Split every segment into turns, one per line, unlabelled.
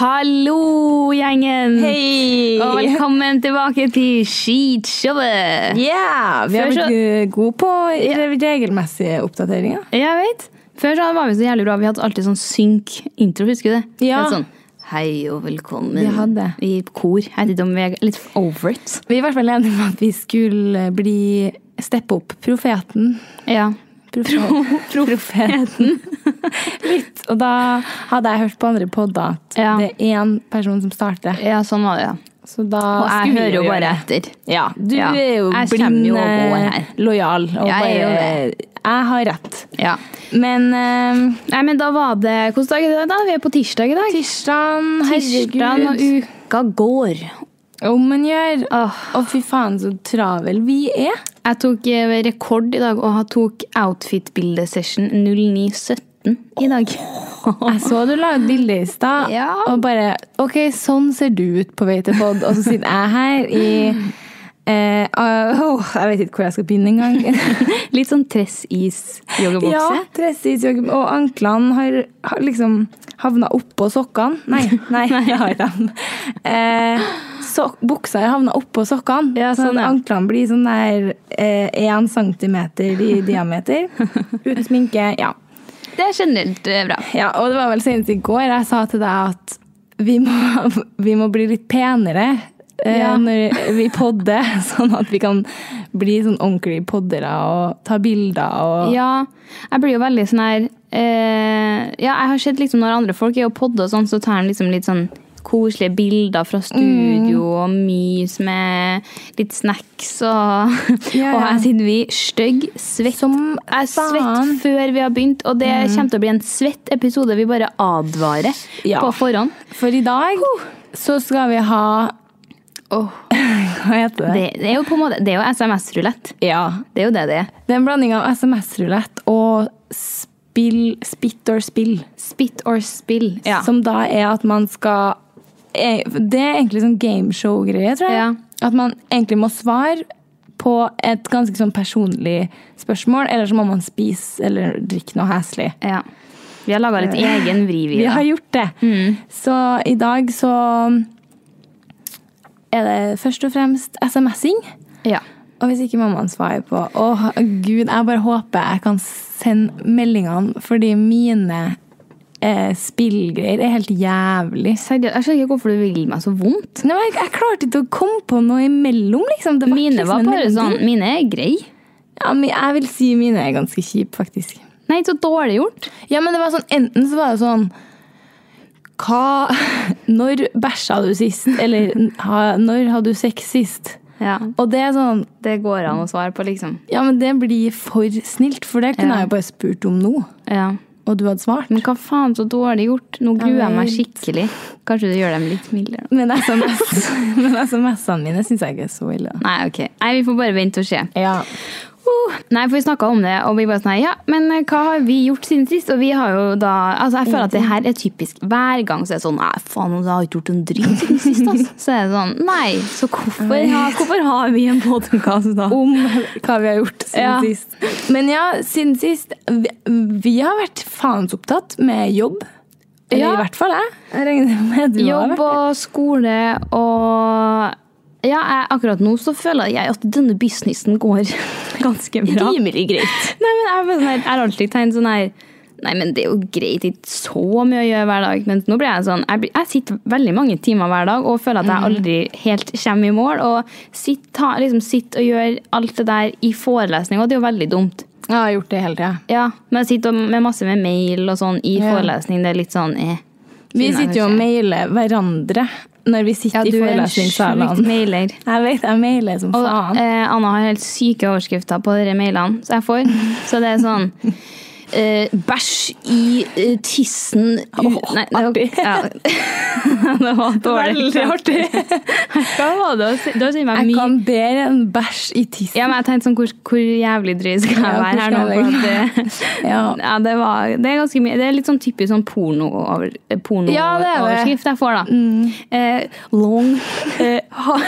Hallo, gjengen!
Hei!
Og velkommen tilbake til Skitshowet!
Yeah, vi har
Før så-
blitt eh, gode på re- regelmessige oppdateringer.
Jeg vet. Før så var vi så jævlig bra. Vi hadde alltid sånn synk-intro, husker du det?
Ja.
Helt Sånn, Hei og velkommen.
Vi hadde.
I kor. Jeg vet ikke om vi er litt over it.
Vi er i hvert fall enige om at vi skulle bli steppe opp profeten.
Ja.
Profe- profeten. Litt. Og da hadde jeg hørt på andre podder at
Ja.
det er én person som starter.
ja, sånn var det, ja.
Så da
Og jeg
skulle vi
hører jo
gjøre
bare
det.
etter.
Ja, du
Ja.
er jo
Jeg kommer
blind
jo og går
eh,
her.
lojal. Og
Jeg
bare
er jo
Jeg har rett.
Ja.
Men eh,
Nei, men da var det Hvilken dag er det? da? Vi er på tirsdag i dag.
Tirsdagen,
Tirsdag og
herregud.
uka går.
Om man gjør. Å,
Åh.
fy faen, så travel vi er.
Jeg tok eh, rekord i dag og har tok outfit-bildesession 0917 i dag.
Jeg så du la ut bilde i stad,
Ja.
og bare OK, sånn ser du ut på vei til pod, og så sitter jeg her i eh, åh, Jeg vet ikke hvor jeg skal begynne engang.
Litt sånn tress-is-joggebukse.
ja, dressis, jogge- og anklene har, har liksom havna oppå sokkene. Nei, nei, jeg har dem. Eh, sok- buksa har havna oppå sokkene,
Ja,
så
sånn, ja.
anklene blir sånn der én centimeter i diameter. Uten sminke. Ja.
Det er generelt eh, bra.
Ja, og det var vel senest i går jeg sa til deg at vi må, vi må bli litt penere eh,
Ja.
når vi podder, sånn at vi kan bli sånn ordentlige poddere og ta bilder og
Ja, jeg blir jo veldig sånn her eh, Ja, jeg har sett liksom når andre folk er og podder og sånn, så tar de liksom litt sånn koselige bilder fra studio og mys med litt snacks og
Ja,
Og
ja.
her sitter vi stygg, svett.
Som
jeg er svett
faen.
før vi har begynt, og det kommer til å bli en svett episode. Vi bare advarer
Ja.
på forhånd.
For i dag så skal vi ha Hva heter det?
Det, det er jo på en måte Det er jo SMS-rulett.
Ja.
Det er jo det det er.
Det er en blanding av SMS-rulett og spill, spit or spill.
Spit or spill. Ja.
Som da er at man skal eh, Det er egentlig sånn gameshow-greie, tror jeg.
Ja.
At man egentlig må svare på et ganske sånn personlig spørsmål, eller så må man spise eller drikke noe heslig.
ja. Vi har laga litt egen vri, Eh, vi.
Vi
da.
har gjort det.
Mm.
Så i dag så er det først og fremst SMS-ing.
Ja.
Og hvis ikke mammaen svarer på Å, gud, jeg bare håper jeg kan sende meldingene, fordi mine eh, spillgreier er helt jævlig.
Seriøst, jeg skjønner ikke hvorfor du vil meg så vondt.
Nei, men jeg, jeg klarte ikke å komme på noe imellom, liksom. Det
Mine
liksom
var
en
bare
mellomting.
sånn Mine er greie.
Ja, men jeg vil si mine er ganske kjipe, faktisk.
Nei, så dårlig gjort.
Ja, men det var sånn, enten så var det sånn Hva Når bæsja du sist? Eller ha, når hadde du sex sist?
Ja.
Og det er sånn
Det går an å svare på, liksom.
Ja, men det blir for snilt, for det kunne
Ja.
jeg jo bare spurt om nå,
Ja.
og du hadde svart.
Men hva faen, så dårlig gjort. Nå gruer jeg meg
vet.
skikkelig. Kanskje du gjør dem litt mildere.
Men SMS men SMS-ene mine syns jeg ikke er så ille.
Nei, ok. Nei, vi får bare vente og se.
Ja.
Uh, nei, for vi snakka om det, og vi bare sånn her, Ja, men eh, hva har vi gjort siden sist? Og vi har jo da Altså, jeg føler at det her er typisk. Hver gang så er det sånn Nei, faen, jeg har ikke gjort en dritt siden sist, altså. Så er det sånn Nei, så hvorfor, ja, hvorfor har vi en podkast da?
om hva vi har gjort siden
Ja.
sist. Men ja, siden sist Vi, vi har vært faens opptatt med jobb. Eller
Ja.
i hvert fall jeg. Jeg regner med at du har
Jobb
vært
og skole og ja, jeg, akkurat nå så føler jeg at denne businessen går ganske bra.
rimelig greit.
Nei, men jeg, er bare sånn her- jeg har alltid tenkt sånn her Nei, men det er jo greit, ikke så mye å gjøre hver dag. Men nå blir jeg sånn Jeg, blir, jeg sitter veldig mange timer hver dag og føler at
Mm.
jeg aldri helt kommer i mål. Og sitter, ta, liksom sitter og gjør alt det der i forelesning, og det er jo veldig dumt.
Jeg har gjort det hele tida.
Ja, Men jeg sitter med masse med mail og sånn i
Ja.
forelesning. Det er litt sånn eh.
Vi
Finner jeg
sitter jo og
ikke.
mailer hverandre når vi sitter i
sjukt
forelesningssalene.
mailer.
Jeg vet, jeg mailer som
Og
faen.
eh, Anna har helt syke overskrifter på de mailene som jeg får. Så det er sånn eh, Bæsj i eh, tissen u-
Åh,
Nei, det var,
artig.
ja. det var dårlig.
Veldig artig.
Hva var det? å si- Du har sendt meg
Jeg
mye
kan bedre enn bæsj i tissen.
ja, men jeg tenkte sånn, hvor, hvor jævlig drøy skal jeg
Ja, hvor
være her nå?
skal jeg
For
legge
at det,
Ja.
ja, det, var, det er ganske mye. Det er litt sånn typisk sånn porno-overskrift
Ja, det Mm. er det.
jeg får, da. Eh, long eh, ha-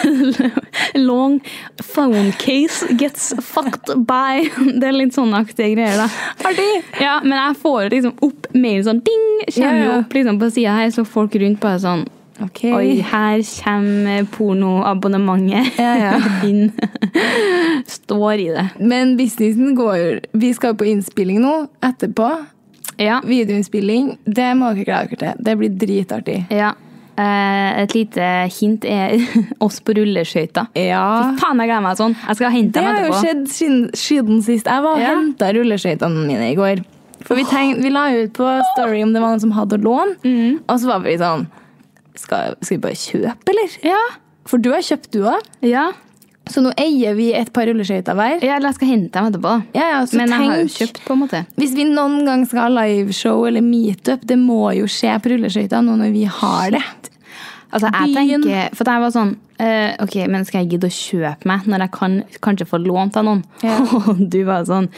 Long phone case gets fucked by Det er litt sånne aktige greier, da.
Artig!
Ja, men jeg får liksom opp mer sånn ding, kommer
Ja, ja.
jo opp liksom på sida her, så folk rundt bare sånn
Ok.
Oi, her kommer pornoabonnementet
Eh. Ja, ja.
inn. Står i det.
Men businessen går jo Vi skal jo på innspilling nå etterpå.
Ja.
Videoinnspilling. Det må dere glede dere til. Det blir dritartig.
ja. Eh, et lite hint er oss på rulleskøyter.
Ja.
Faen, jeg gleder meg sånn. Jeg skal hente
Det
dem
har jo
etterpå.
skjedd siden, siden sist. Jeg var og
Ja.
hentet henta rulleskøytene mine i går. For vi, tenkte, vi la jo ut på Story om det var noen som hadde å låne.
Mm.
Og så var vi sånn skal, skal vi bare kjøpe, eller?
Ja.
For du har kjøpt, du òg.
ja.
Så nå eier vi et par rulleskøyter hver.
Ja, Eller jeg skal hente dem etterpå. da.
Ja, ja, så
Men jeg
tenk,
har jo kjøpt, på en måte.
Hvis vi noen gang skal ha liveshow eller meetup, det må jo skje på rulleskøyter nå når vi har det.
Altså, jeg
Byen.
tenker, for jeg var sånn eh, Ok, men skal jeg gidde å kjøpe meg når jeg kan kanskje få lånt av noen?
Ja.
Og du var sånn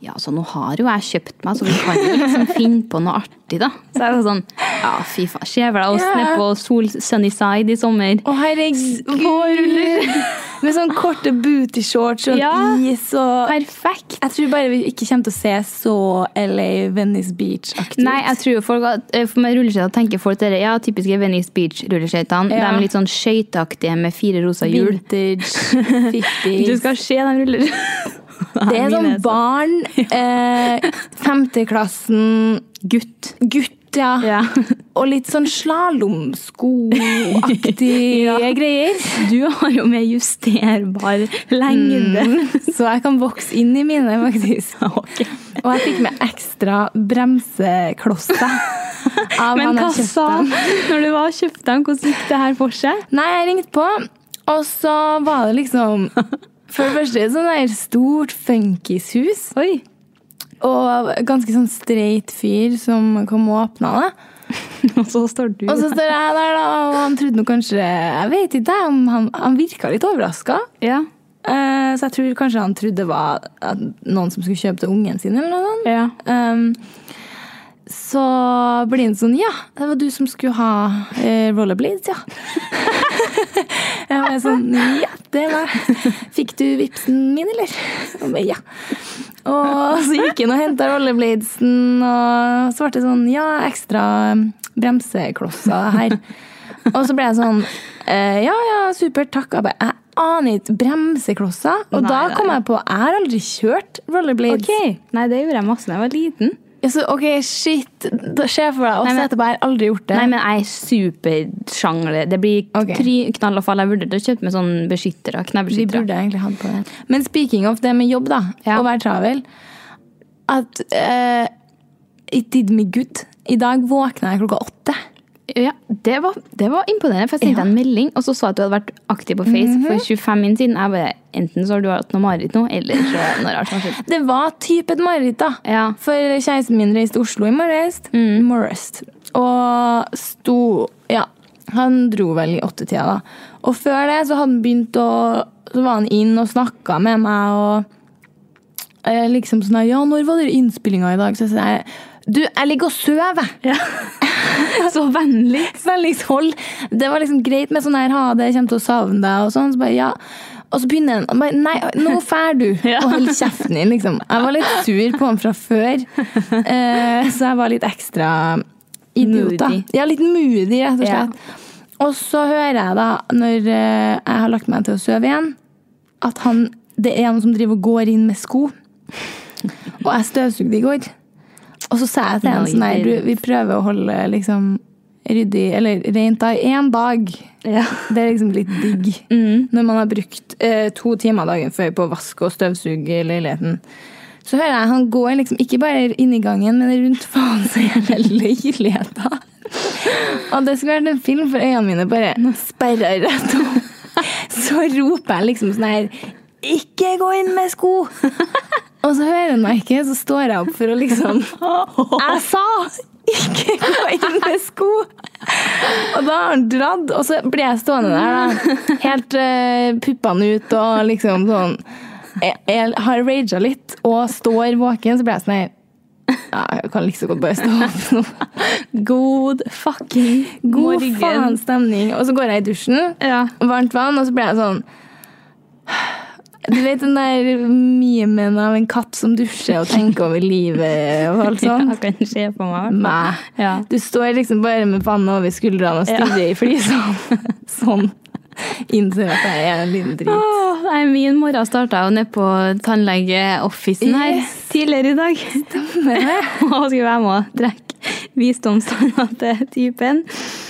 Ja, så nå har jo jeg kjøpt meg, så vi kan jo liksom finne på noe artig, da. Så jeg var sånn Ja, fy faen. Skjevla oss
Ja.
ned på Sol Sunnyside i sommer.
Å, herregud! Med sånn korte booty-shorts og
Ja.
is og
Perfekt.
Jeg tror bare vi ikke kommer til å se så LA Venice Beach-aktig
Nei, jeg tror jo folk at, eh, for med rulleskøyter tenker folk dere, ja, typiske Venice Beach-rulleskøytene.
Ja.
De er litt sånn skøyteaktige med fire rosa hjul.
Vintage, 50s
Du skal se de rulleskøytene.
Det er sånn barn, eh, femteklassen Gutt. Gutt, ja.
Ja.
Og litt sånn slalåmskoaktige greier.
Du har jo med justerbar lengde.
Mm. Så jeg kan vokse inn i mine, faktisk. Og jeg fikk med ekstra bremseklosser. av
Men
han jeg
hva
kjøpte.
sa han når du var og kjøpte den? Hvordan gikk det her for seg?
Nei, jeg ringte på, og så var det liksom For det første et sånn der stort funkishus,
Oi.
og ganske sånn streit fyr som kom og åpna det.
Og så står du
Og så står jeg der, da, og han trodde nå kanskje Jeg vet ikke, om han, han virka litt overraska.
Ja.
Eh, så jeg tror kanskje han trodde det var at noen som skulle kjøpe til ungen sin, eller noe sånt.
ja.
Ehm, så blir han sånn Ja, det var du som skulle ha eh, rollerblades, ja. jeg var sånn Ja, det var Fikk du vipsen min, eller? Han ba, ja. Og så gikk han og henta rollerbladesen, og så ble det sånn Ja, ekstra bremseklosser her. Og så ble jeg sånn eh, Ja, ja, supert, takk. Jeg bare, jeg aner ikke bremseklosser. Og
Nei,
da
nei.
kom jeg på Jeg har aldri kjørt rollerblades.
Ok. Nei, det gjorde jeg masse da jeg var liten.
Ja, så, ok, shit. Da- Se for deg oss
Nei, men-
etterpå. Jeg har aldri gjort det.
Nei, men jeg er supersjangler. Det blir
Ok.
kry, knall og fall. Jeg burde kjøpt med sånn beskyttere.
Vi
Knebeskyttere.
burde egentlig hatt på det. Men speaking of det med jobb, da.
Ja.
Å være travel. At eh, it did me good. I dag våkna jeg klokka åtte.
Ja, det var, det var imponerende, for jeg sendte en melding og så så jeg at du hadde vært aktiv på Face for 25 min siden. Jeg bare, Enten så har du hatt noe mareritt nå, eller så er det noe rart som har skjedd.
Det var type et mareritt, da.
Ja.
For kjæresten min reiste til Oslo i morges. Morges. Og sto Ja, han dro vel i åttetida, da. Og før det så hadde han begynt å Så var han inn og snakka med meg og eh, liksom sånn her, Ja, når var det innspillinga i dag? Så sa jeg Du, jeg ligger og sover!
Så vennlig.
Spenningshold. Det var liksom greit med sånn her ha det, jeg kommer til å savne deg og sånn. Så bare, ja. Og så begynner han og bare, Nei, nå fær du!
Ja.
Og hold kjeften din, liksom. Jeg var litt sur på han fra før, eh, så jeg var litt ekstra idiot, da.
Moody.
Ja, litt moody, rett og
Ja.
slett. Og så hører jeg, da, når eh, jeg har lagt meg til å sove igjen, at han, det er noen som driver og går inn med sko. Og jeg støvsugde i går. Og så sa jeg til
Nå
en sånn her,
gir
du,
det-
vi prøver å holde liksom ryddig, eller rent da, i én dag.
Ja.
Det er liksom litt digg.
Mm.
Når man har brukt eh, to timer dagen før på å vaske og støvsuge leiligheten. Så hører jeg han går liksom ikke bare inn i gangen, men rundt faen så hele leiligheta. Og det skulle vært en film, for øynene mine bare sperra rett opp. Så roper jeg liksom sånn her Ikke gå inn med sko! Og så hører han meg ikke, så står jeg opp for å liksom Jeg sa ikke gå inn med sko! Og da har han dratt, og så blir jeg stående der, da. Helt eh, puppene ut og liksom sånn Jeg, jeg har raga litt og står våken, så blir jeg sånn her ja, Jeg kan like så godt bare stå opp nå.
God fucking
God
morgen.
faen stemning. Og så går jeg i dusjen,
Ja.
varmt vann, og så blir jeg sånn Du vet den der memen av en katt som dusjer og tenker over livet og alt sånt?
Jeg kan se på meg. i hvert fall.
Nei.
Ja.
Du står liksom bare med panna over skuldrene og stirrer i flisene. Sånn. Innser at jeg er en liten drit.
Åh, nei, min morgen starta jo nede på tannlegeoffisen her
Yes.
tidligere i dag. og skulle være med og drikke visdomstanna til typen.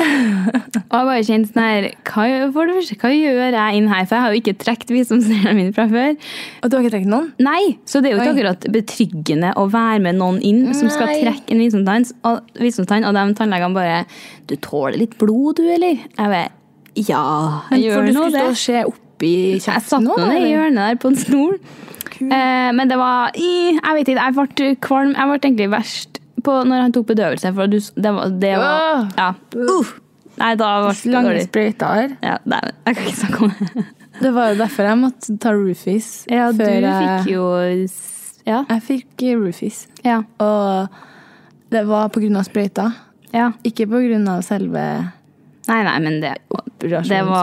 Og jeg bare kjente sånn her hva, gjør- For det første, hva gjør jeg inn her? For jeg har jo ikke trukket visdomstennene mine fra før.
Og du har ikke trukket noen?
Nei, så det er jo ikke
Oi.
akkurat betryggende å være med noen inn som skal
Nei.
trekke en visdomstann, og, visdomstann, og de tannlegene bare 'Du tåler litt blod, du, eller?' Jeg bare Ja, jeg
for
gjør
du
nå
skulle
det.
stå og se oppi
Jeg satt
kjeften
nå ned
nå?
i
eller?
hjørnet der på en stol.
Kult.
Eh, men det var i- Jeg vet ikke, jeg ble kvalm. Jeg ble egentlig verst på når han tok bedøvelse, for du, det var, det var
Åh!
Ja. Uff. Nei, da ble det
Lange
dårlig.
sprøyter.
Ja, nei, jeg kan ikke snakke om det.
Det var jo derfor jeg måtte ta roofies.
Ja, du
jeg-
fikk jo s- Ja.
Jeg fikk roofies.
Ja.
Og det var på grunn av sprøyta.
ja.
Ikke på grunn av selve
Nei, nei, men det Det var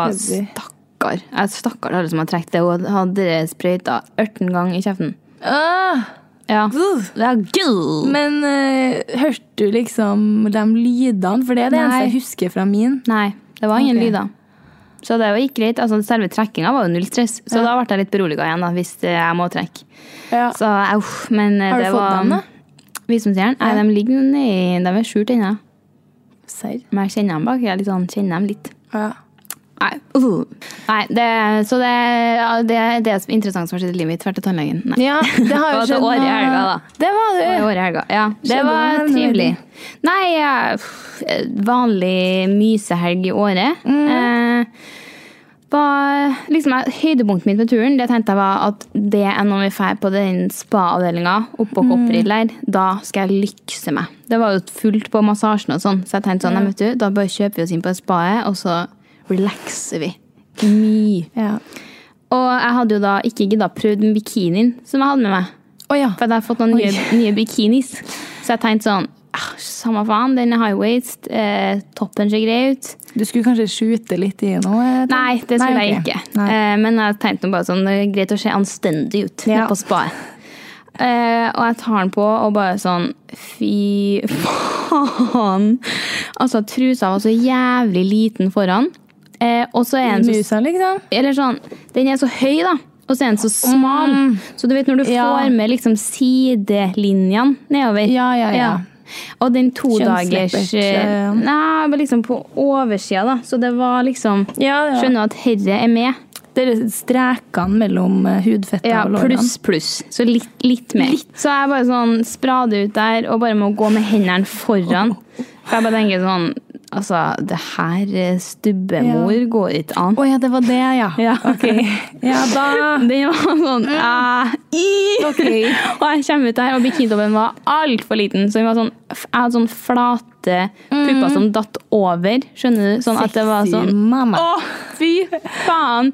operasjonen.
stakkar. Jeg stakkar alle som har trukket det. Hun hadde sprøyta 18 ganger i kjeften.
Ah,
Ja.
uff.
Det er gull.
men eh, hørte du liksom de lydene? For det er det
Nei.
eneste jeg husker fra min.
Nei, det var ingen
Ok.
lyder. Så det var- gikk greit. Altså, selve trekkinga var jo null stress, så da ble jeg litt beroliga igjen da, hvis eh, jeg må trekke. Så, eh, uff, men eh,
Har du
det
fått
var,
dem, da?
Visdomstjernen? Nei, de ligger nedi De er skjult ennå.
Serr?
Men jeg kjenner dem bak. Jeg er litt sånn, kjenner dem litt.
Ja.
Nei, uh. Nei det, så det, ja, det er det som er interessant som har skjedd i livet mitt. Vært til tannlegen. Nei.
ja, det har jo
Og til
skjedd
året i
noe-
helga, da.
Det var
Det
det.
var i helga. Ja, det
Skjedde
var
det, eller?
trivelig. Nei, eh, pff, vanlig mysehelg i året. Eh, var, liksom, jeg- høydepunktet mitt med turen det tenkte jeg var at det er når vi drar på den spa-avdelinga oppe på Kopperil der, da skal jeg lykse meg. Det var jo fullt på massasjen og sånn, så jeg tenkte sånn, nei, vet du, da bare kjøper vi oss inn på spaet, og så relaxer vi. Mye.
Ja.
Og jeg hadde jo da ikke gidda prøvd den bikinien som jeg hadde med meg.
Å ja.
For jeg har fått noen nye, nye bikinis. Så jeg tenkte sånn ah, Samme faen, den er high waist. Eh, toppen ser grei ut.
Du skulle kanskje skjute litt i noe? eller?
Nei, det skulle jeg
ok.
ikke.
Nei.
Eh, men jeg tenkte nå bare sånn Det er greit å se anstendig ut
Ja.
nede på spaet. Eh, og jeg tar den på og bare sånn Fy faen! Altså, trusa var så jævlig liten foran. Eh, og så er den så
Musa, liksom?
eller sånn, den er så høy da, og så er den så smal. Så du vet når du
Mm. Ja.
får med liksom sidelinjene nedover.
Ja, ja, ja.
Og den todagers...
Kjønnsleppert, ja.
Nei, men liksom på oversida da, så det var liksom...
Ja, ja.
Skjønner at herre er med.
Det er strekene mellom eh, hudfettet
Ja,
og lårene.
pluss, pluss. Så litt, litt mer. Så jeg bare sånn sprader ut der og bare må gå med hendene foran. For jeg bare tenker sånn, altså, det her eh, stubbemor går ikke an.
Å ja, det var det, ja.
Ja.
Ok. Ja, da
Den var sånn eh, i.
Ok.
Og jeg kommer ut der, og bikinitoppen var altfor liten. Så den var sånn, jeg hadde sånn flate pupper som datt over. Skjønner du? Sånn at det var
Mm. Sexy
sånn
mamma.
Å, fy faen!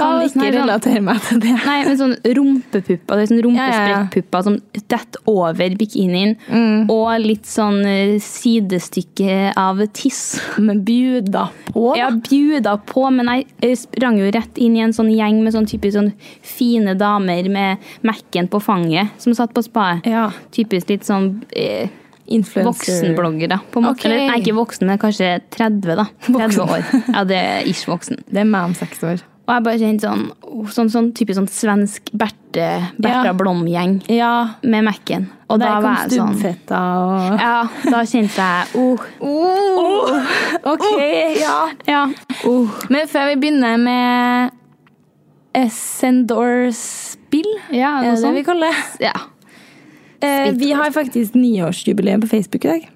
Kan
Og sånn
ikke
her, sånn,
relatere meg til det.
Nei, men sånn rumpepupper. Det er sånn
Ja, ja, Mm. ja.
Rumpesprekkpupper som detter over bikinien. Og litt sånn eh, sidestykke av tiss.
Men bjuda på, da.
Jeg bjuda på, men jeg eh, sprang jo rett inn i en sånn gjeng med sånn typisk sånn fine damer med Mac-en på fanget, som satt på spaet.
Ja.
Typisk litt sånn eh,
Influencer.
voksenbloggere, på en måte.
Ok.
Eller nei, ikke voksen, men kanskje 30, da. 30 år. Ja, det er ish voksen.
Det er meg om seks år.
Og jeg bare kjente sånn, oh, sånn, sånn typisk sånn svensk Berthe, Bertha
Ja.
Blom-gjeng
Ja.
med Mac-en. Og
Der
da
kom
var jeg sånn
stubbfetta og
Ja, da kjente jeg oh,
oh. Ok, ja. Eh,
ja. Oh,
Men før vi begynner med Essendor-spill,
ja,
er
noe
det det vi
sånt.
kaller det?
Ja.
Eh, vi har faktisk niårsjubileum på Facebook i dag.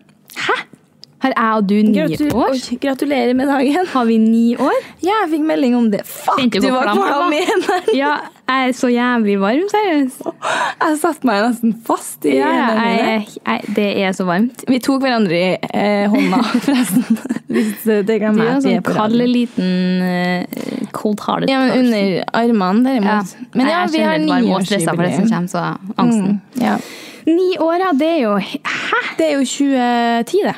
Har jeg og du ni
Gratu-
år?
Oi, gratulerer med dagen.
Har vi ni år?
Ja, jeg fikk melding om det. Fuck,
Tenkte
du
du på
var
klam,
klam
da?
igjen!
Ja, jeg er så jævlig varm, seriøst.
Jeg satte meg nesten fast i
Ja,
hendene
jeg,
mine.
jeg, jeg, det er så varmt.
Vi tok hverandre i eh, hånda, forresten. Hvis eh, det
Du
glemmer
er
jeg
jo
at vi er
sånn
på
kald
radio.
liten eh, cold-hearted
Ja, men under
Ja.
armene, derimot. Men ja,
Jeg
vi har
kjenner litt varm og stressa for det som kommer,
niårsjubileum.
så angsten.
Mm, ja.
Ni år, ja, det er jo Hæ?
Det er jo 2010, det.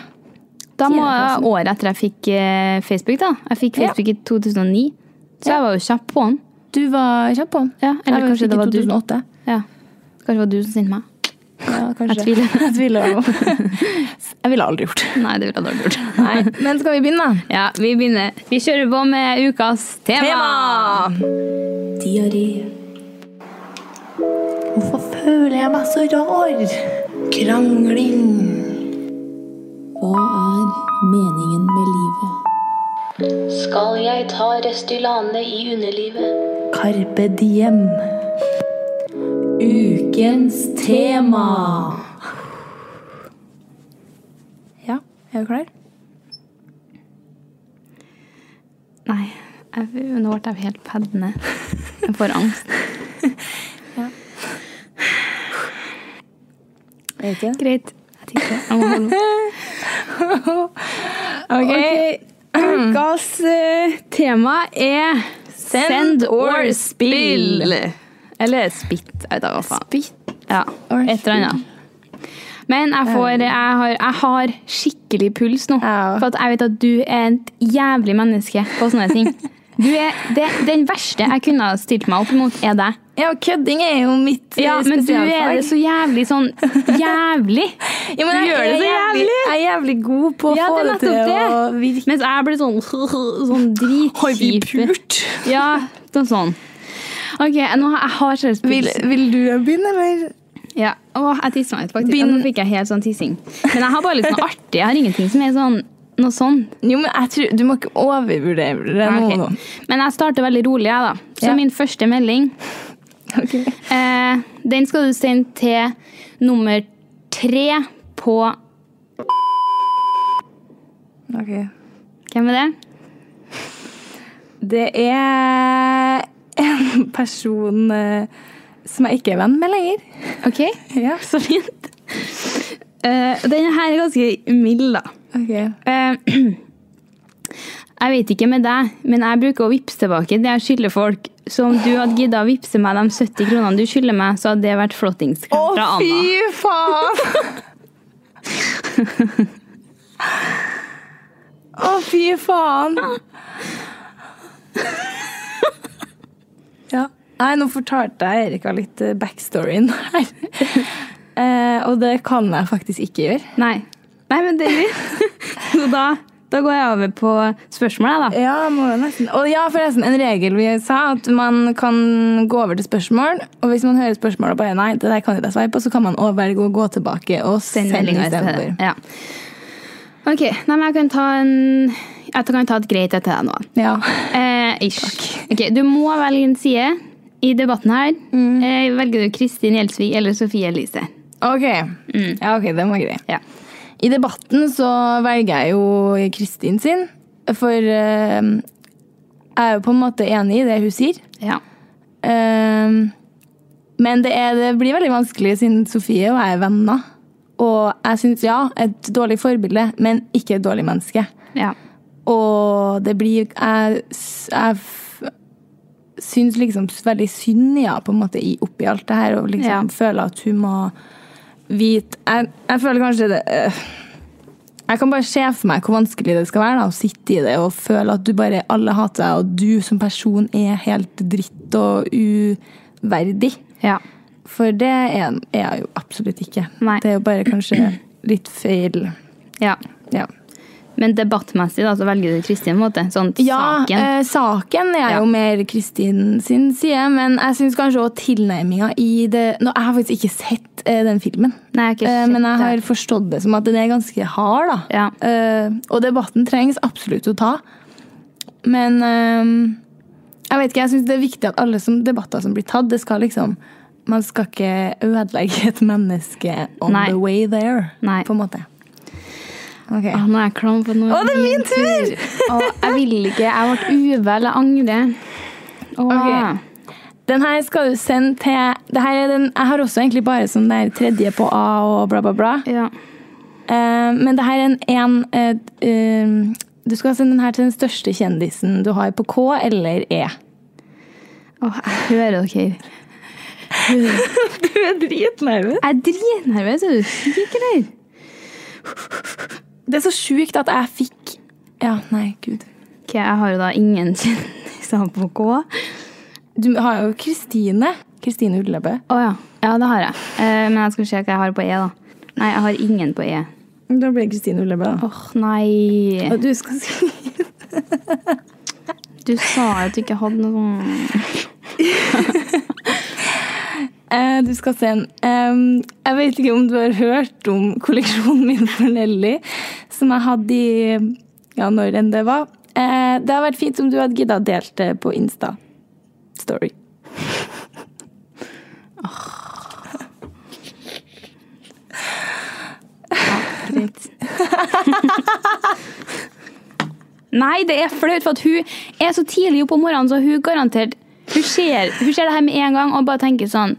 Da må
Tiendeklassen.
året etter jeg fikk eh, Facebook, da. Jeg fikk
Ja.
Facebook i 2009, så jeg var jo kjapp på den.
Du var kjapp på den.
Ja, eller
Jeg
kanskje det
fikk
var du.
i 2008.
Ja. Kanskje det var du som sendte meg?
Ja, kanskje.
Jeg tviler.
Jeg tviler. Jeg ville aldri gjort det.
Nei, det ville jeg dårlig gjort.
Nei. Men skal vi begynne, da?
Ja, vi begynner. Vi kjører på med ukas tema.
Diaré. Hvorfor føler jeg meg så rar? Krangling.
Hva er meningen med livet?
Skal jeg ta Restylane i underlivet?
Carpe diem.
Ukens tema!
Ja, er du klar?
Nei, jeg, nå ble jeg helt peddende. Jeg får angst.
Er ikke?
Greit. Jeg tenker, jeg må holde meg.
Ok.
Ukas eh, tema er Send, or spill. Eller spitt. Jeg vet da hva faen.
Spitt.
Ja,
or
et eller annet. Men jeg, får, jeg, har, jeg har skikkelig puls nå.
Ja.
For at jeg vet at du er et jævlig menneske på sånne ting. Du er, det, den verste jeg kunne ha stilt meg opp mot, er deg.
Ja, kødding er jo mitt
Ja,
eh,
men du er
spesialfag.
det så jævlig sånn Jævlig!
Ja, men
du
jeg
gjør
er
det så jævlig!
Jeg er jævlig god på å
Ja, det
få
er
det til
nettopp det.
å virke.
Mens jeg blir sånn sånn dritkjip.
pult?
Ja, noe sånn. OK, nå har jeg har seriøst
Vil,
puls.
vil du begynne, eller?
Ja. Å, jeg tissa meg ut, faktisk. Ja,
Begynn-
nå fikk jeg helt sånn tissing. Men jeg har bare litt sånn artig. Jeg har ingenting som er sånn noe sånn.
Jo, men jeg tror, Du må ikke overvurdere det
Ja,
nå.
ok. Men jeg starter veldig rolig, jeg, da. Så
Ja.
min første melding,
da. Ok.
eh, den skal du sende til nummer tre på
Ok.
Hvem er det?
Det er en person eh, som jeg ikke er venn med lenger.
OK,
Ja.
så fint. Eh, denne her er ganske mild, da.
Ok.
Eh, Jeg vet ikke med deg, men jeg bruker å vippse tilbake det jeg skylder folk. Så om du hadde giddet å vippse meg de 70 kronene du skylder meg, så hadde det vært flottings
Å,
fra Anna.
fy faen! Å, fy faen! Ja. Nei, nå fortalte jeg Erika litt eh, backstoryen her. Eh, og det kan jeg faktisk ikke gjøre.
Nei. Nei, men det er greit. Så da, da går jeg over på spørsmålet, da.
Ja, må jeg nesten. Og ja, forresten, en regel vi sa, at man kan gå over til spørsmål. Og hvis man hører spørsmål og bare nei, det der kan ikke jeg svare på, så kan man også velge å gå tilbake og
Den
sende
meldingen
istedenfor.
istedenfor. Ja. Ok, nei, men jeg kan ta en Jeg kan ta et greit et til deg nå.
Ja.
Eh, ish. Ok, du må velge en side i debatten her.
Mm.
Eh, velger du Kristin Gjelsvik eller Sofie Elise?
Ok. Ja, ok, den var grei.
Ja.
I debatten så velger jeg jo Kristin sin, for eh, jeg er jo på en måte enig i det hun sier.
ja.
Eh, men det, er, det blir veldig vanskelig siden Sofie og jeg er venner. Og jeg syns ja, et dårlig forbilde, men ikke et dårlig menneske.
ja.
Og det blir Jeg, s- jeg f- syns liksom veldig synd ja, på en måte, i- oppi alt det her, og liksom
Ja.
føler at hun må vite Jeg, jeg føler kanskje det øh, Jeg kan bare se for meg hvor vanskelig det skal være da, å sitte i det og føle at du bare alle hater deg, og du som person er helt dritt og uverdig.
ja.
For det er er jeg jo absolutt ikke.
Nei.
Det er jo bare kanskje litt feil.
ja.
Ja.
Men debattmessig da, så velger du Kristin? på en måte. Sånn
Ja,
saken.
eh, saken er
Ja.
jo mer Kristin sin side, men jeg syns kanskje også tilnærminga i det Nå, Jeg har faktisk ikke sett eh, den filmen,
Nei, jeg har ikke
eh,
sett
men jeg
det.
har forstått det som at den er ganske hard, da.
Ja.
Eh, og debatten trengs absolutt å ta. Men eh, jeg vet ikke, jeg syns det er viktig at alle som, debatter som blir tatt, det skal liksom Man skal ikke ødelegge et menneske on
Nei.
the way there,
Nei.
på en måte. Ok.
Ah, nå er jeg klam for nå.
Å, det er min tur!
Å, jeg vil ikke. Jeg ble uvel. Jeg angrer. Å.
Ok. Den her skal du sende til det her er den, Jeg har også egentlig bare som det er tredje på A og bla, bla, bla.
Ja.
Eh, men det her er en, en eh, eh, Du skal sende den her til den største kjendisen du har på K eller E.
Å, jeg hører dere.
Du er dritnervøs.
Jeg er dritnervøs. Er du syk, eller?
Det er så sjukt at jeg fikk Ja, nei, gud.
Ok, jeg har jo da ingen kjendiser på K.
Du har jo Kristine. Kristine Ullebø.
Å ja. Ja, det har jeg. Eh, men jeg skal se hva jeg har på E, da. Nei, jeg har ingen på E.
Da blir det Kristine Ullebø, da.
Åh, nei.
Og du skal si
Du sa jo at du ikke hadde noe sånn
Eh, Du skal se en Em, Jeg vet ikke om du har hørt om kolleksjonen min for Nelly, som jeg hadde i Ja, når enn det var. Eh, Det hadde vært fint om du hadde gidda å delt det på Insta. Story.
Greit. Nei, det er flaut, for at hun er så tidlig oppe om morgenen, så hun garantert Hun ser, hun ser det her med en gang og bare tenker sånn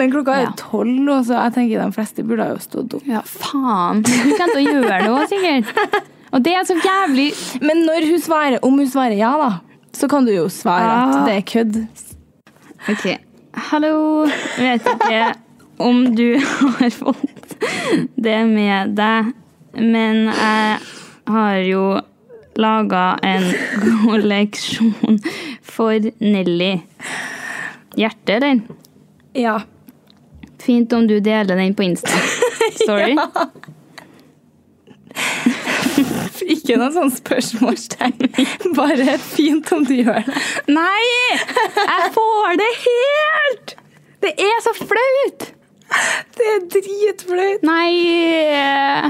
Men klokka er
Ja.
tolv, og så jeg tenker de fleste burde ha jo stått opp.
Ja, faen. Men Hun kommer til å gjøre det òg, sikkert. Og det er så jævlig
Men når hun svarer, om hun svarer ja, da, så kan du jo svare
Ah.
at det er kødd.
OK. Hallo. Vet ikke om du har fått det med deg, men jeg har jo laga en kolleksjon for Nelly. Hjerte, den.
Ja.
Fint om du deler den på Insta. Sorry.
Ikke noe sånn spørsmålstegn. Bare fint om du gjør det.
Nei! Jeg får det helt! Det er så flaut!
Det er dritflaut.
Nei eh,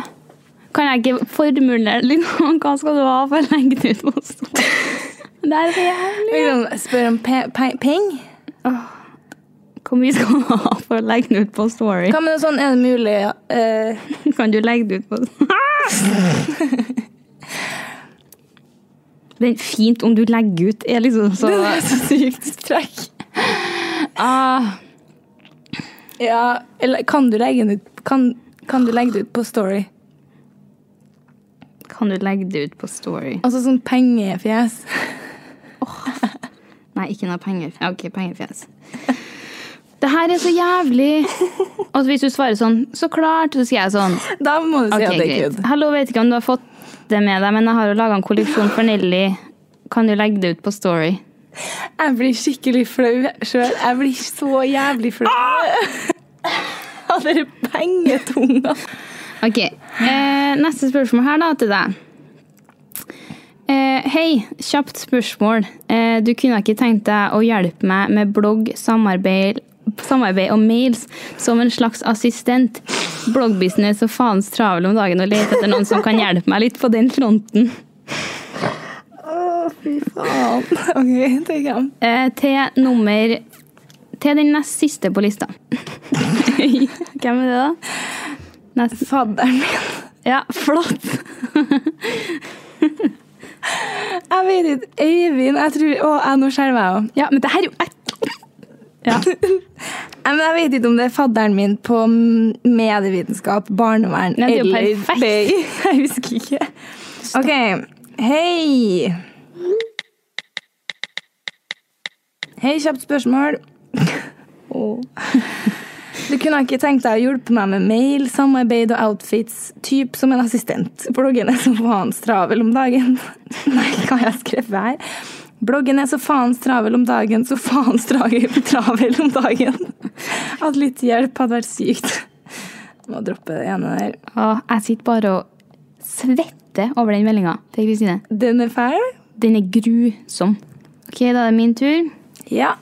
Kan jeg ikke formulere litt om hva skal du ha for å legge det ut på stolen? Det er så jævlig.
Spør om pe pe peng.
Hvor mye skal du ha for å legge det ut på story?
Hva med noe sånn, er det mulig eh,
Kan du legge det ut på Den fint om du legger ut er liksom så
Det er så sykt strekk.
ah,
Ja, eller kan du legge den ut, kan, kan du legge det ut på story?
Kan du legge det ut på story?
Altså sånn pengefjes.
Nei, ikke noe penger. Ja, Ok, pengefjes. Det her er så jævlig. Og hvis du svarer sånn, så klart, så sier jeg sånn.
Da må du si
Ok,
at det er
greit.
kødd.
Hallo, vet ikke om du har fått det med deg, men jeg har jo laga en kolleksjon for Nelly. Kan du legge det ut på Story?
Jeg blir skikkelig flau sjøl. Jeg blir så jævlig flau. Av dere pengetunga.
Ok, eh, Neste spørsmål her da til deg. Eh, hei, kjapt spørsmål. Eh, du kunne ikke tenkt deg å hjelpe meg med blogg, samarbeid, samarbeid og mails som en slags assistent? Bloggbusiness og faens travel om dagen og lete etter noen som kan hjelpe meg litt på den fronten.
Faen. Ok, tenker jeg.
Eh, til nummer Til den nest siste på lista. Hvem er det, da? Nest,
Fadderen min.
ja, flott!
Jeg vet ikke. Øyvind, jeg tror Å, jeg, nå skjelver jeg òg.
Ja, men det her er jo ja.
Men jeg vet ikke om det er fadderen min på medievitenskap, barnevern
Nei, det er jo perfekt.
BI. Jeg husker ikke. OK. Hei. Hei, kjapt spørsmål. Du kunne ikke tenkt deg å hjelpe meg med mail, samarbeid og outfits, typ som en assistent. Bloggen er så faen stravel om dagen. Nei, hva har jeg skrevet her? Bloggen er så faen stravel om dagen, så faen stravel travel om dagen. At litt hjelp hadde vært sykt. Må droppe det ene der.
Og jeg sitter bare og svetter over den meldinga til Kristine.
Den er fæl?
Den er grusom. Ok, da er det min tur.
Ja.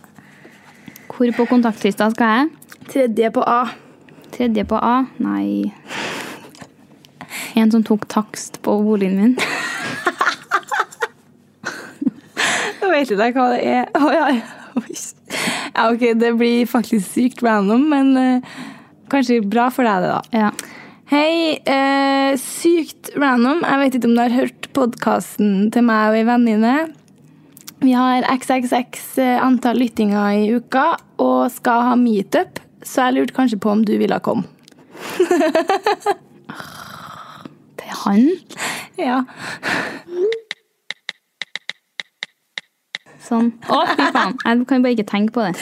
Hvor på kontaktlista skal jeg?
Tredje på A.
Tredje på A? Nei. En som tok takst på boligen min.
Jeg vet ikke hva det er. Å, ja. Oi. ja, ok, det blir faktisk sykt random, men eh, kanskje bra for deg, det, da.
Ja.
Hei, eh, sykt random. Jeg vet ikke om du har hørt podkasten til meg og ei venninne. Vi har xxx eh, antall lyttinger i uka og skal ha meetup, så jeg lurte kanskje på om du ville komme.
Til han?
Ja.
Sånn. Å, fy faen. Jeg kan bare ikke tenke på det.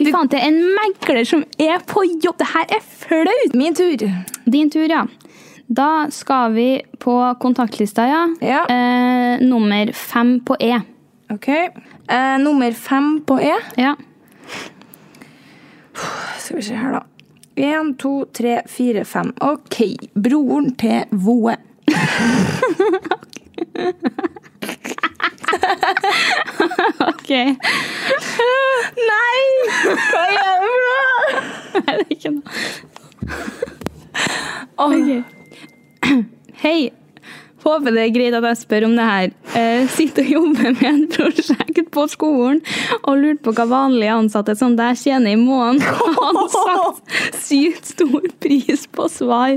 Fy faen, det er en megler som er på jobb! Det her er flaut!
Min tur.
Din tur, ja. Da skal vi på kontaktlista, ja.
Ja.
Eh, nummer fem på E.
Ok. Eh, nummer fem på E.
Ja.
Skal vi se her, da. Én, to, tre, fire, fem. OK. Broren til Voe.
OK. Nei,
Nei! Hva er det for noe?
det er ikke noe. Hei. Håper det er greit at jeg spør om det her. Eh, sitter og jobber med et prosjekt på skolen og lurte på hva vanlige ansatte som deg tjener i måneden. Han satte sykt stor pris på svar.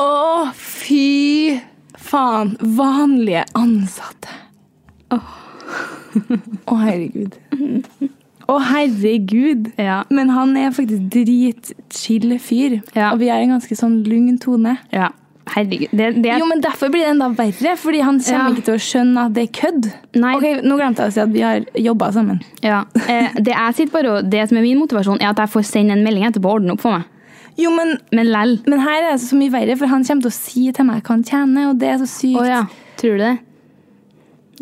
Å, fy faen. Vanlige ansatte. Å, herregud. Å, herregud.
Ja.
Men han er faktisk dritchill fyr.
Ja.
Og vi er i en ganske sånn lugn tone.
Ja. Herregud. Det, det
Jo, men Derfor blir det enda verre, fordi han kommer
Ja.
ikke til å skjønne at det er kødd.
Nei.
Ok, Nå glemte jeg å si at vi har jobba sammen.
Ja. Eh, det, jeg sitter bare, og- det som er min motivasjon, er at jeg får sende en melding etterpå og ordne opp for meg.
Jo, men,
Men lell.
men her er det så mye verre, for han kommer til å si til meg hva han tjener, og det er så sykt.
Å ja. Tror du det?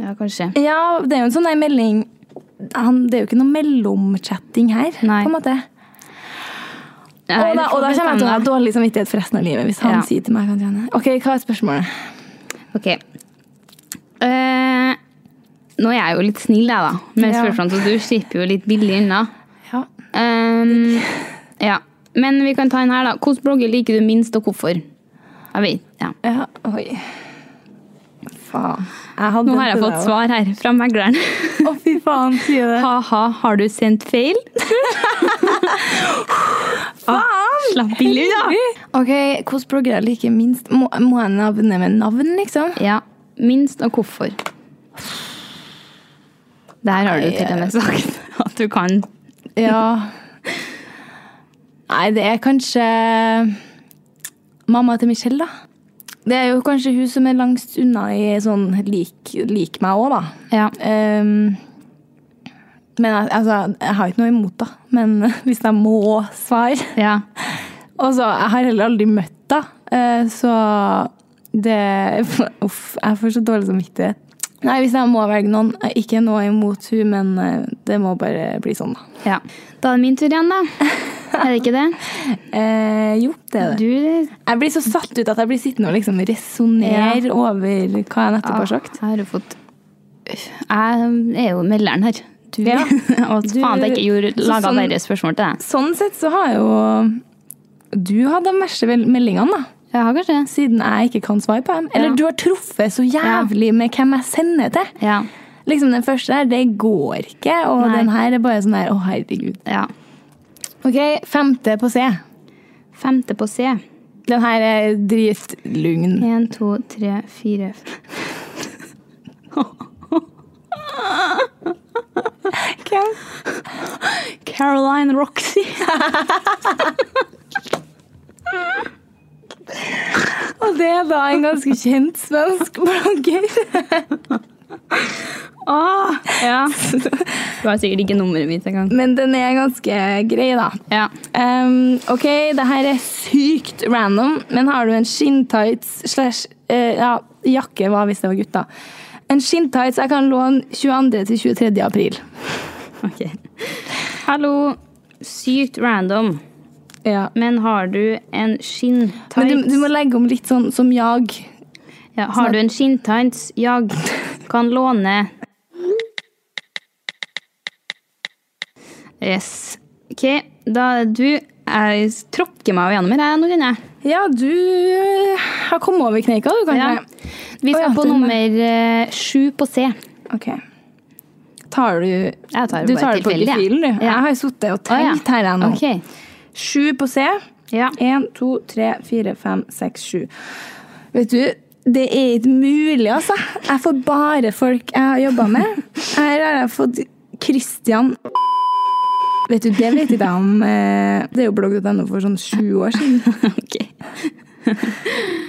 Ja, kanskje.
Ja, det er jo en sånn der melding han, Det er jo ikke noe mellomchatting her,
Nei.
på en måte.
Nei,
Og
du får
da, og da kommer jeg til å ha
bestemme deg.
dårlig samvittighet for resten av livet. hvis han
Ja.
sier til meg hva han tjener. Ok, Hva er spørsmålet?
Ok. Eh, nå er jeg jo litt snill, jeg, da, med
Ja.
spørsmålene, så du slipper jo litt billig unna.
Ja.
Ehm, ja. Men vi kan ta en her, da. Hvilken blogger liker du minst, og hvorfor? Jeg vet, ja.
ja. Oi. Faen. Jeg hadde
Nå
den
har jeg
til
fått
deg også.
svar her fra megleren.
Å, fy faen, sier det.
Ha-ha, har du sendt feil?
Faen!
Slapp billig unna!
Ok, Hvilke bloggere liker minst? Må, må jeg navne med navn, liksom?
Ja, minst og hvorfor. Der har du til og med sagt at du kan.
Ja. Nei, det er kanskje mamma til Michelle, da. Det er jo kanskje hun som er langst unna i sånn lik, lik meg òg, da.
Ja.
Ehm, men al- altså, jeg har ikke noe imot da. Men hvis jeg må svare
ja.
Og så, jeg har heller aldri møtt da. eh, så det Uff, jeg får så dårlig samvittighet. Nei, hvis jeg må velge noen eh, Ikke noe imot hun, men eh, det må bare bli sånn, da.
ja. Da er det min tur igjen, da. Er det ikke det?
Eh, jo, det er det.
Du
Jeg blir så satt ut at jeg blir sittende og liksom resonnere over hva jeg nettopp har sagt.
Jeg Ah, har jo fått Jeg um, er jo melderen her. Du,
Ja.
og
Du-
faen at jeg ikke gjorde
så
laga
sånn-
verre spørsmål til deg.
Sånn sett så har jo du hatt de verste vel- meldingene, da.
Jeg har kanskje det.
siden jeg ikke kan svare på dem. Eller
Ja.
du har truffet så jævlig med hvem jeg sender til.
Ja.
Liksom Den første der, det går ikke. Og
Nei.
den her er bare sånn der, å herregud.
ja.
Ok, femte på C.
Femte på C.
Den her er dritlugn.
Én, to, tre, fire
Hvem?
Caroline Roxy.
Og det er da en ganske kjent svensk blogger. Ah.
Ja. Du har sikkert ikke nummeret mitt engang.
Men den er ganske grei, da.
Ja.
Um, ok, det her er sykt random, men har du en skinntights slash eh, ja, jakke, hva hvis det var gutta? En skinntights jeg kan låne 22. til 23. april.
Ok. Hallo. Sykt random.
Ja.
Men har du en skinntights
Men du, du må legge om litt sånn som jag.
ja, Har du en skinntights jag kan låne Yes. OK, da er du Jeg tråkker meg jo gjennom her, jeg, nå kjenner jeg.
Ja, du eh, har kommet over kneika, du,
Ja.
kanskje?
Vi
Å,
skal
ja,
på
til og med.
nummer eh, sju på C.
Ok. Tar du
Jeg tar det
Du
bare
tar det på
tilfeldig, jeg.
gefühlen, du.
Ja.
Jeg har sittet
Å, ja.
og tenkt her, jeg nå.
Ok.
Sju på C.
Ja.
Én, to, tre, fire, fem, seks, sju. Vet du, det er ikke mulig, altså. Jeg får bare folk jeg har jobba med. Her har jeg fått Christian Vet du, det vet ikke jeg om eh, Det er jo blogg.no for sånn sju år siden.
ok.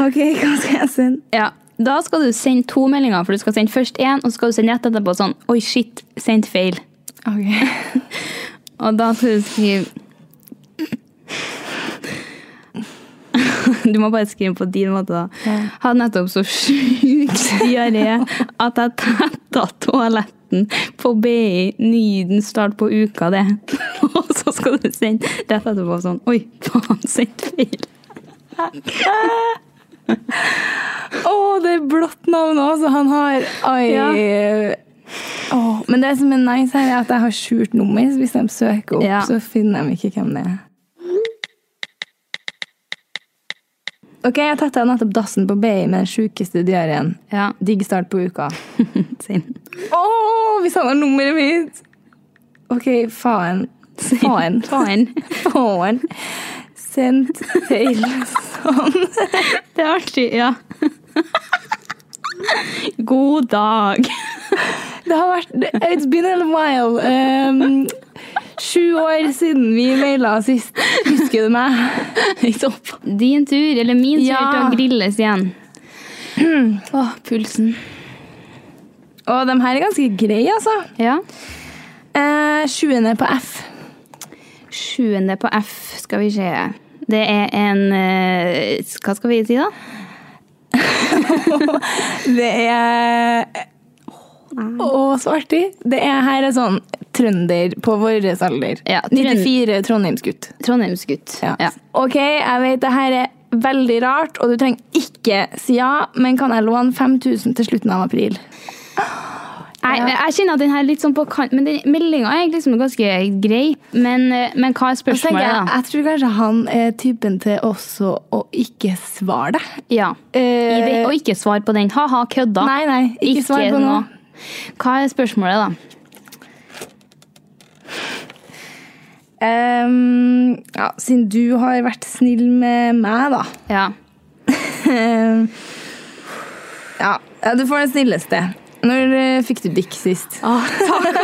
Ok, hva skal jeg sende?
Ja, da skal du sende to meldinger, for du skal sende først én, og så skal du sende rett etterpå sånn Oi, shit, sendt feil.
Ok.
Og da skal du skrive Du må bare skrive på din måte, da.
Ja.
Hadde nettopp så sjuk diaré at jeg tetta toaletten på BI Nyden start på uka, det. Og så skal du sende rett etterpå sånn Oi, faen, sendte feil.
Å, det er blått navn også, han har Oi. Å, men det som er nice her, er at jeg har skjult nummer. Så hvis de søker opp,
Ja.
så finner de ikke hvem det er. Ok, jeg tetta nettopp dassen på BI med den sjukeste diareen.
Ja.
Digg start på uka.
Send.
Å, hvis han har nummeret mitt! Ok, faen. Faen.
Faen.
Faen. Sendt til sånn.
Det er artig. Ja. God dag.
Det har vært It's been a while. Um, sju år siden vi maila sist. Husker du meg?
Din tur, eller min tur,
Ja.
til å grilles igjen.
Å, pulsen. Å, de her er ganske greie, altså.
Ja.
Eh, sjuende på F.
Sjuende på F, skal vi se. Det er en eh, Hva skal vi si, da?
Det er Å, så artig. Det er her er sånn trønder på vår alder.
Ja, trønd-
94 trondheimsgutt.
Trondheimsgutt.
Ja.
Ja.
Ok, jeg vet det her er veldig rart, og du trenger ikke si ja, men kan jeg låne 5000 til slutten av april?
Jeg, jeg kjenner at den her er litt sånn på kant, men den meldinga er liksom ganske grei. Men, eh, men hva er
Og så tenker
spørsmålet,
jeg,
da?
jeg tror kanskje han er typen til også å ikke svare deg.
Ja. I
Eh,
det, og ikke svar på den. Ha-ha, kødda.
Nei, nei, ikke, svar på noe.
Hva er spørsmålet, da?
Ehm, ja, siden du har vært snill med meg, da.
Ja.
Ehm, ja, ja, du får den snilleste. Når eh, fikk du bikk sist?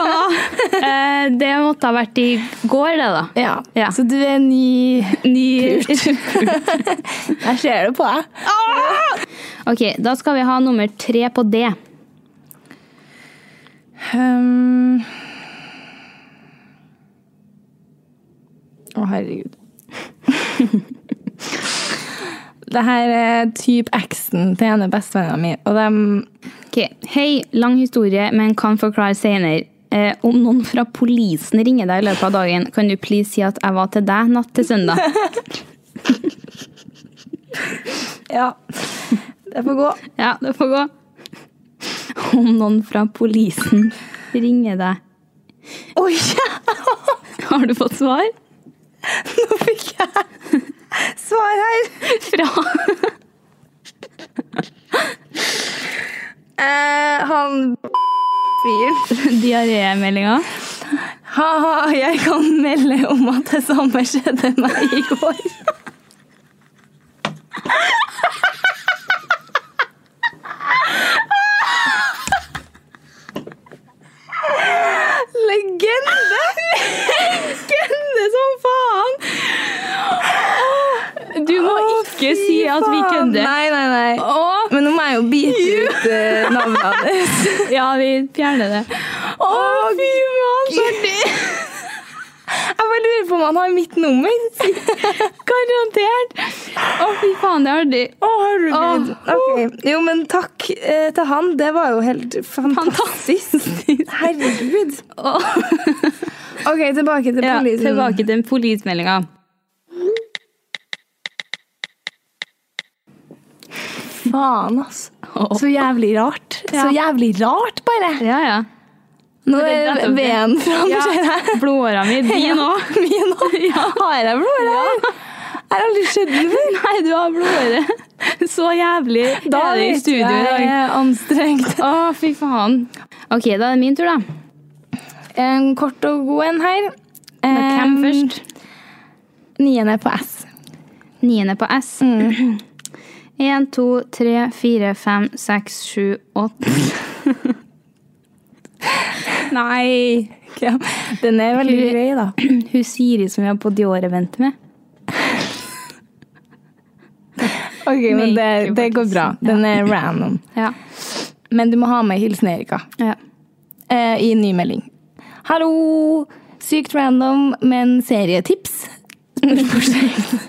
Eh, det måtte ha vært i går, det, da.
Ja.
Ja.
Så du er ny
Ny-
Jeg ser det på deg.
ok, da skal vi ha nummer tre på D.
Ehm. Å, herregud. det her er typ eksen til ene bestevenninna mi, og de
Ok, Hei, lang historie, men kan forklare senere. Eh, om noen fra polisen ringer deg i løpet av dagen, kan du please si at jeg var til deg natt til søndag?
Ja. Det får gå.
Ja, det får gå. Om noen fra polisen ringer deg.
Oi! Nå
Har du fått svar?
fikk jeg svar her.
Fra
Eh, han fyren.
diarémeldinga?
Ha-ha, jeg kan melde om at det samme skjedde meg i går. Legende! Legende som faen!
Du må ikke
Fy
si at vi
faen.
kødder.
Nei, nei, nei.
Å,
Men nå må jeg jo bite ut eh, navnet hans.
ja, vi fjerner det.
Å, fy faen, så artig! Jeg bare lurer på om han har mitt nummer.
Garantert! Å, fy faen, det er artig.
Å, herregud.
Å.
Ok. Jo, men takk eh, til han. Det var jo helt fantastisk. Herregud.
Å.
Ok, tilbake til
Ja,
polisen.
tilbake til polismeldinga.
Faen, altså. Så jævlig rart. Så jævlig rart, bare.
Ja, ja.
Nå
det er
er
nettopp det.
veden fram,
ja.
ser jeg.
Blodåra mi, din òg.
Min også. Har jeg blodåre her? Jeg har aldri sett den før.
Nei, du har blodåre. Så jævlig
Da
er det i
vet
studio i
jeg
dag.
er anstrengt.
Å, fy faen. Ok, da er det min tur, da.
En kort og god en her.
da hvem
Em,
først?
Niende på S.
Niende på S.
Mm.
Én, to, tre, fire, fem, seks, sju, åtte. Nei!
Ja, Den er veldig grei, da.
Hun Siri som vi har på Dior-eventet med.
Ok, men det, det går bra. Den er random.
Ja.
Men du må ha med hilsen Erika
ja.
eh, i ny melding. Hallo! Sykt random, men serietips? Spørsmålstegn.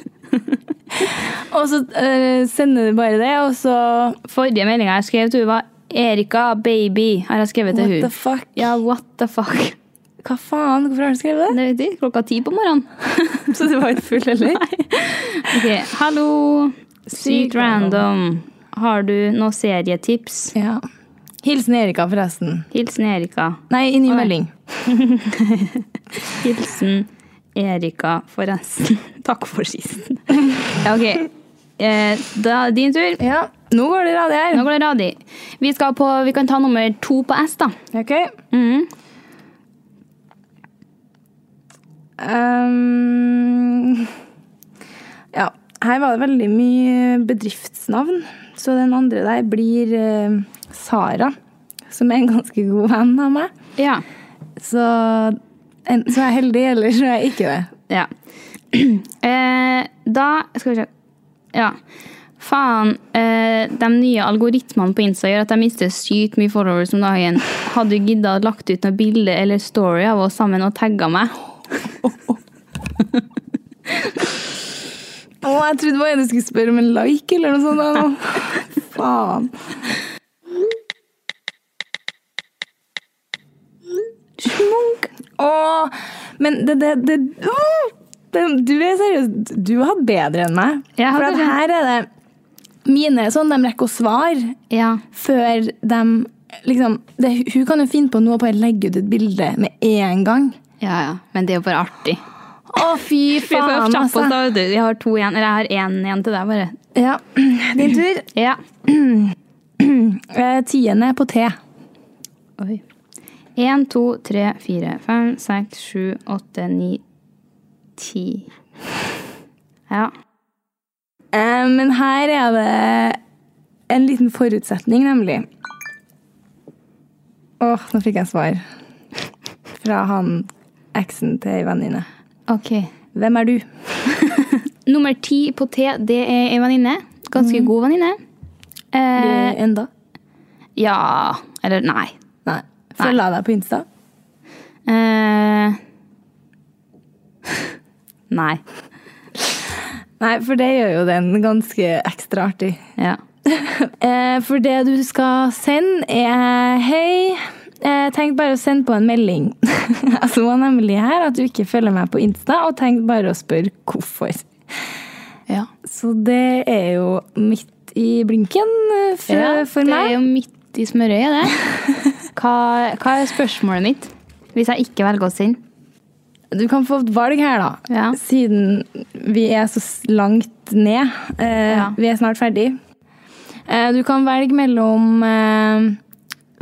Og så eh, sender du bare det, og så
Forrige meldinga jeg skrev til hun var 'Erika, baby', har jeg skrevet til
What
hun.
the fuck?
Ja, what the fuck.
Hva faen? Hvorfor har du skrevet det?
Det vet jeg, klokka ti på morgenen.
Så du var ikke full, eller?
Ok, hallo. Sykt
Sykt
random. Har du noen serietips?
Ja. Hilsen Erika, forresten.
Hilsen Erika.
Nei, i ny
Oi.
melding.
Hilsen Erika, forresten. Takk for sist. Ja, ok. Eh, da er det din tur.
Ja. Nå går det radig her.
Nå går det radig. Vi, skal på, vi kan ta nummer to på S, da.
Ok.
Mhm.
Ehm, ja, her var det veldig mye bedriftsnavn. Så den andre der blir eh, Sara, som er en ganske god venn av meg.
Ja.
Så enten så er jeg heldig, eller så er jeg ikke det.
Ja. eh, da Skal vi se. Ja. Faen. Eh, de nye algoritmene på Insta gjør at jeg mister sykt mye followers om dagen. Hadde du gidda å lagt ut noe bilde eller story av oss sammen og tagga meg?
Å, jeg trodde bare du skulle spørre om en like eller noe sånt. da, nå. Faen. Smunk. Å, men det, det, det, å, det Du er seriøst, du har hatt bedre enn meg.
Jeg har
For at
bedre.
her er det Mine er sånn, de rekker å svare
Ja.
før de liksom, det, Hun kan jo finne på noe og bare legge ut et bilde med en gang.
Ja, ja. Men det er jo bare artig.
Å, fy
Vi får
faen,
kjappe oss,
altså.
da. vet du. Vi har to igjen. Eller jeg har én igjen til deg, bare.
Ja, Din tur.
Ja.
Eh, Tiende på T.
Oi. Én, to, tre, fire, fem, seks, sju, åtte, ni, ti. Ja.
Eh, Men her er det en liten forutsetning, nemlig. Åh, nå fikk jeg svar. Fra han eksen til ei venninne.
Ok.
Hvem er du?
Nummer ti på T, det er ei venninne. Ganske god venninne. Eh,
enda?
ja Eller nei.
Nei. Følger jeg deg på Insta?
Eh, nei.
Nei, for det gjør jo den ganske ekstra artig.
Ja.
Eh, for det du skal sende, er Hei, jeg tenkte bare å sende på en melding. Jeg så nemlig her at du ikke følger meg på Insta, og tenkte bare å spørre hvorfor.
ja.
Så det er jo midt i blinken eh, for, for
det er
meg.
jo midt i smørøyet, det. Hva, hva er spørsmålet mitt? Hvis jeg ikke velger å sende?
Du kan få et valg her, da.
Ja.
Siden vi er så s- langt ned. Eh,
Ja.
Vi er snart ferdig. Eh, du kan velge mellom eh,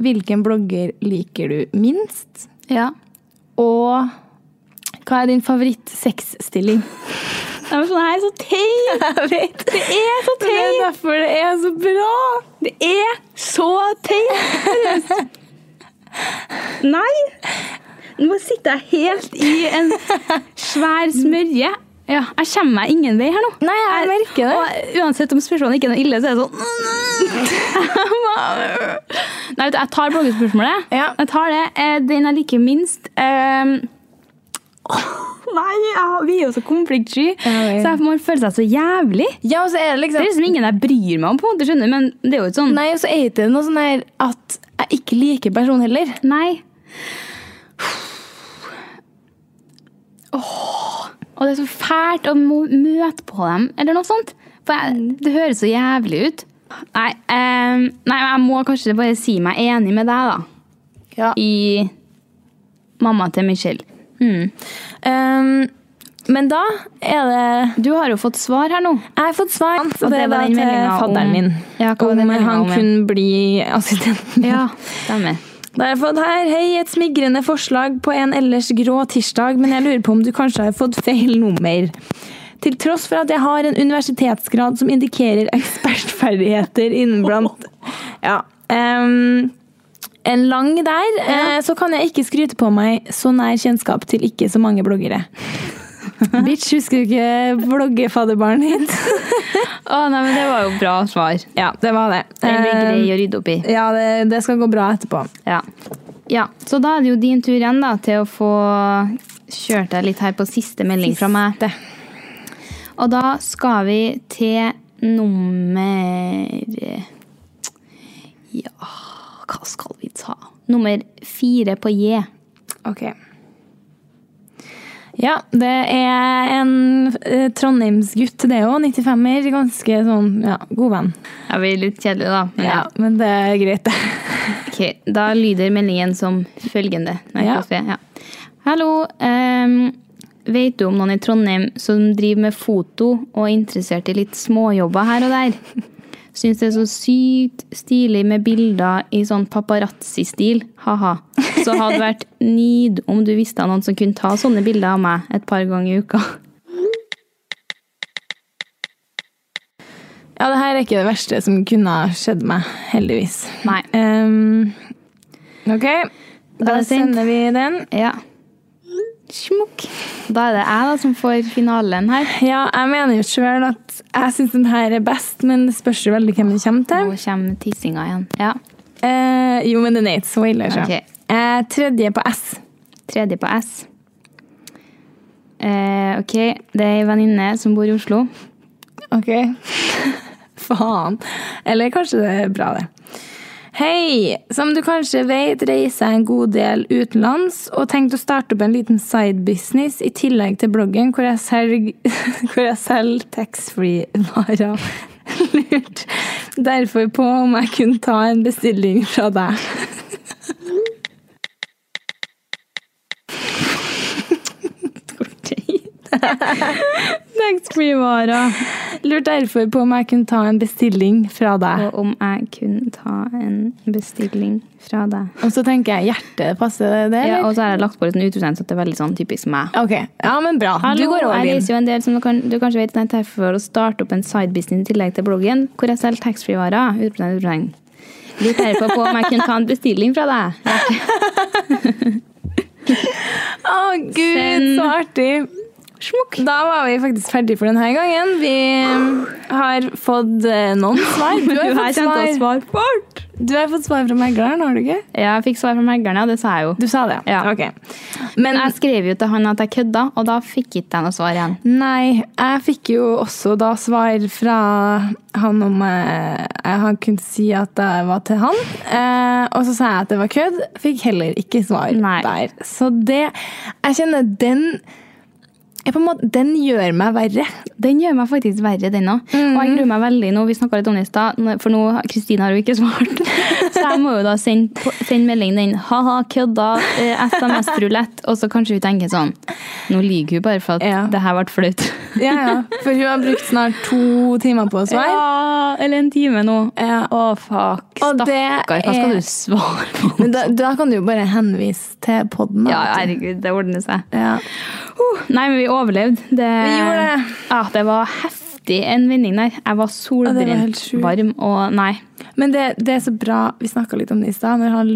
hvilken blogger liker du minst,
Ja.
og hva er din favoritt-sexstilling?
Det er sånn her så teit!
Jeg vet det!
er så
Det er derfor det er så bra!
Det er så teit! Nei! Nå sitter jeg helt i en svær smørje. Ja, jeg kommer meg ingen vei her nå.
Nei, jeg merker det.
Og uansett om spørsmålet ikke er noe ille, så er det sånn Nei, vet du, jeg tar bloggespørsmålet.
Ja.
Jeg tar det. Eh, Den jeg liker minst eh, Nei, jeg- vi er jo så konfliktsky,
Ja, vi-
så jeg- man føler seg så jævlig.
Ja, og så er det
Det
liksom
er liksom ingen jeg bryr meg om, på en måte, skjønner du, men det er jo ikke sånn
Nei, og så er det ikke noe sånn her at jeg ikke liker personen heller.
Nei. Åh. Og det er så fælt å må møte på dem, eller noe sånt. For jeg, det høres så jævlig ut. Nei, eh, nei, men jeg må kanskje bare si meg enig med deg, da.
Ja.
I mamma til Michelle. Mm.
Ehm, men da er det
Du har jo fått svar her nå.
Jeg har fått svar.
Og
Og
det
det,
var
var
den
til
meldingen om-
fadderen min.
Ja, hva var
om
den meldingen
han
om igjen?
kunne bli assistenten min.
Ja, stemmer.
Da har jeg fått her Hei, et smigrende forslag på en ellers grå tirsdag, men jeg lurer på om du kanskje har fått feil nummer. Til tross for at jeg har en universitetsgrad som indikerer ekspertferdigheter innen blant Ja. ehm, en lang der, eh, så kan jeg ikke skryte på meg så nær kjennskap til ikke så mange bloggere. Bitch, husker du ikke bloggefadderbarnet ditt?
Å, nei, men det var jo bra svar. Ehm.
ja, det var det.
Den blir grei
Eh,
å rydde opp i.
ja, det, det skal gå bra etterpå.
Ja. ja, så da er det jo din tur igjen da, til å få kjørt deg litt her på siste melding fra meg. Og da skal vi til nummer Ja, hva skal vi ta? Nummer fire på J.
Ok. Ja, det er en eh, Trondheimsgutt, det òg. 95-er. Ganske sånn ja, god venn.
Jeg blir litt kjedelig, da. men
Ja, men det er greit, det.
Ok, Da lyder meldingen som følgende. Nei,
Ja.
hvorfor jeg- ja. Hallo. ehm, vet du om noen i Trondheim som driver med foto og er interessert i litt småjobber her og der? Syns det er så sykt stilig med bilder i sånn paparazzi-stil. Ha-ha. Så hadde vært nyd om du visste av noen som kunne ta sånne bilder av meg et par ganger i uka.
Ja, det her er ikke det verste som kunne ha skjedd meg, heldigvis.
Nei.
Ehm, ok,
Da er
da
det sent.
sender vi den.
Ja. Smukk. Da er det jeg da som får finalen her.
Ja, jeg mener jo sjøl at jeg syns den her er best, men det spørs jo veldig hvem det kommer til.
Nå kommer tissinga igjen. Ja.
Eh, jo, men den er ikke så ille. så.
Ok.
Eh, tredje på S.
Tredje på S. Eh, ok, det er ei venninne som bor i Oslo.
Ok. Faen. Eller kanskje det er bra, det. Hei! Som du kanskje vet, reiser jeg en god del utenlands og tenkte å starte opp en liten sidebusiness i tillegg til bloggen hvor jeg selg- hvor jeg selger taxfree-varer. Lurt derfor på om jeg kunne ta en bestilling fra deg.
Taxfree-varer.
Lurt derfor på om jeg kunne ta en bestilling fra deg.
Og om jeg kunne ta en bestilling fra deg.
Og så tenker jeg hjertet passer det, det,
Ja,
eller?
og så har jeg lagt på litt sånn utropstegn, så det er veldig sånn typisk meg.
Ok, ja, men bra. du
Hallo,
går all
jeg
in.
reiser jo en del, som du, kan, du kanskje vet, jeg er for å starte opp en sidebusiness i tillegg til bloggen, hvor jeg selger taxfree-varer. Utropstegn, utropstegn. Lurt derfor på om jeg kunne ta en bestilling fra deg. Ja.
Å, gud,
Send.
så artig! Da var vi faktisk ferdig for denne gangen. Vi um, har fått eh, noen svar. Du har fått svar.
svar fort!
Du har fått svar fra megleren, har du ikke?
Ja, jeg fikk svar fra meglerne, og det sa jeg jo.
Du sa det,
Ja.
Ok. Men
Men jeg skrev jo til han at jeg kødda, og da fikk ikke jeg noe svar igjen.
nei, jeg fikk jo også da svar fra han om eh, jeg han kunne si at jeg var til han. Eh, og så sa jeg at det var kødd. Fikk heller ikke svar
Nei.
der. Så det Jeg kjenner den jeg på en måte, Den gjør meg verre.
Den gjør meg faktisk verre, den òg. Og
Mhm.
jeg gruer meg veldig nå. Vi snakka litt om det i stad, nå- for nå Kristine har jo ikke svart. Så jeg må jo da sende, på- sende meldingen den ha-ha, kødda, eh, SMS-rulett, og så kanskje vi tenker sånn Nå lyver hun bare for at
Ja.
det her ble flaut.
Ja, ja. For hun har brukt snart to timer på å svare.
Ja, eller en time nå.
Ja.
Å, fuck.
Og det
Stakkar, hva skal
er-
du svare på?
Men da, da kan du jo bare henvise til poden.
Ja, herregud, det ordner seg.
Ja.
Uh, Nei, men vi overlevde. Det,
Vi gjorde det.
Ja, det var heftig en vending der. Jeg var
Ja, det var
solbrent,
helt sjukt.
varm og Nei.
Men det, det er så bra Vi snakka litt om det i stad, når han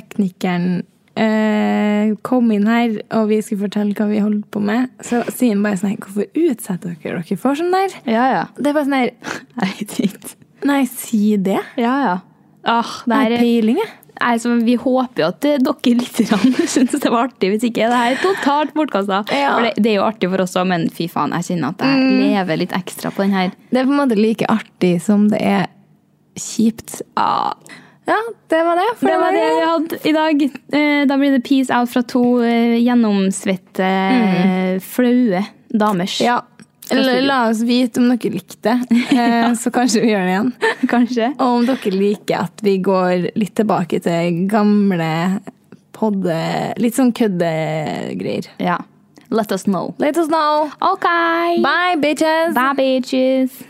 lydteknikeren eh, kom inn her, og vi skulle fortelle hva vi holdt på med, så sier han bare sånn her Hvorfor utsetter dere dere for sånn der?
Ja, ja.
Det er bare sånn her
Jeg vet ikke.
Nei, si det.
Ja, ja. Ah, det
Det
her
er
er,
peiling, jeg.
Nei, så vi håper jo at eh, dere lytterne syns det var artig. Hvis ikke, det her er totalt bortkasta.
Ja. Mm.
For det, det er jo artig for oss òg, men fy faen, jeg kjenner at jeg lever litt ekstra på den her.
Det er på en måte like artig som det er kjipt. Ah. Ja, det var det. for
Det var
i
det
dag.
vi hadde i dag. Eh, Da blir det peace out fra to eh, gjennomsvette, eh, flaue damers.
Mm. Ja. Eller la oss vite om dere likte det, eh, så kanskje vi gjør det igjen.
Kanskje.
Og om dere liker at vi går litt tilbake til gamle podde... Litt sånn køddegreier.
Ja. Let us know.
Let us know.
Okay.
Bye, bitches!
Bye bitches.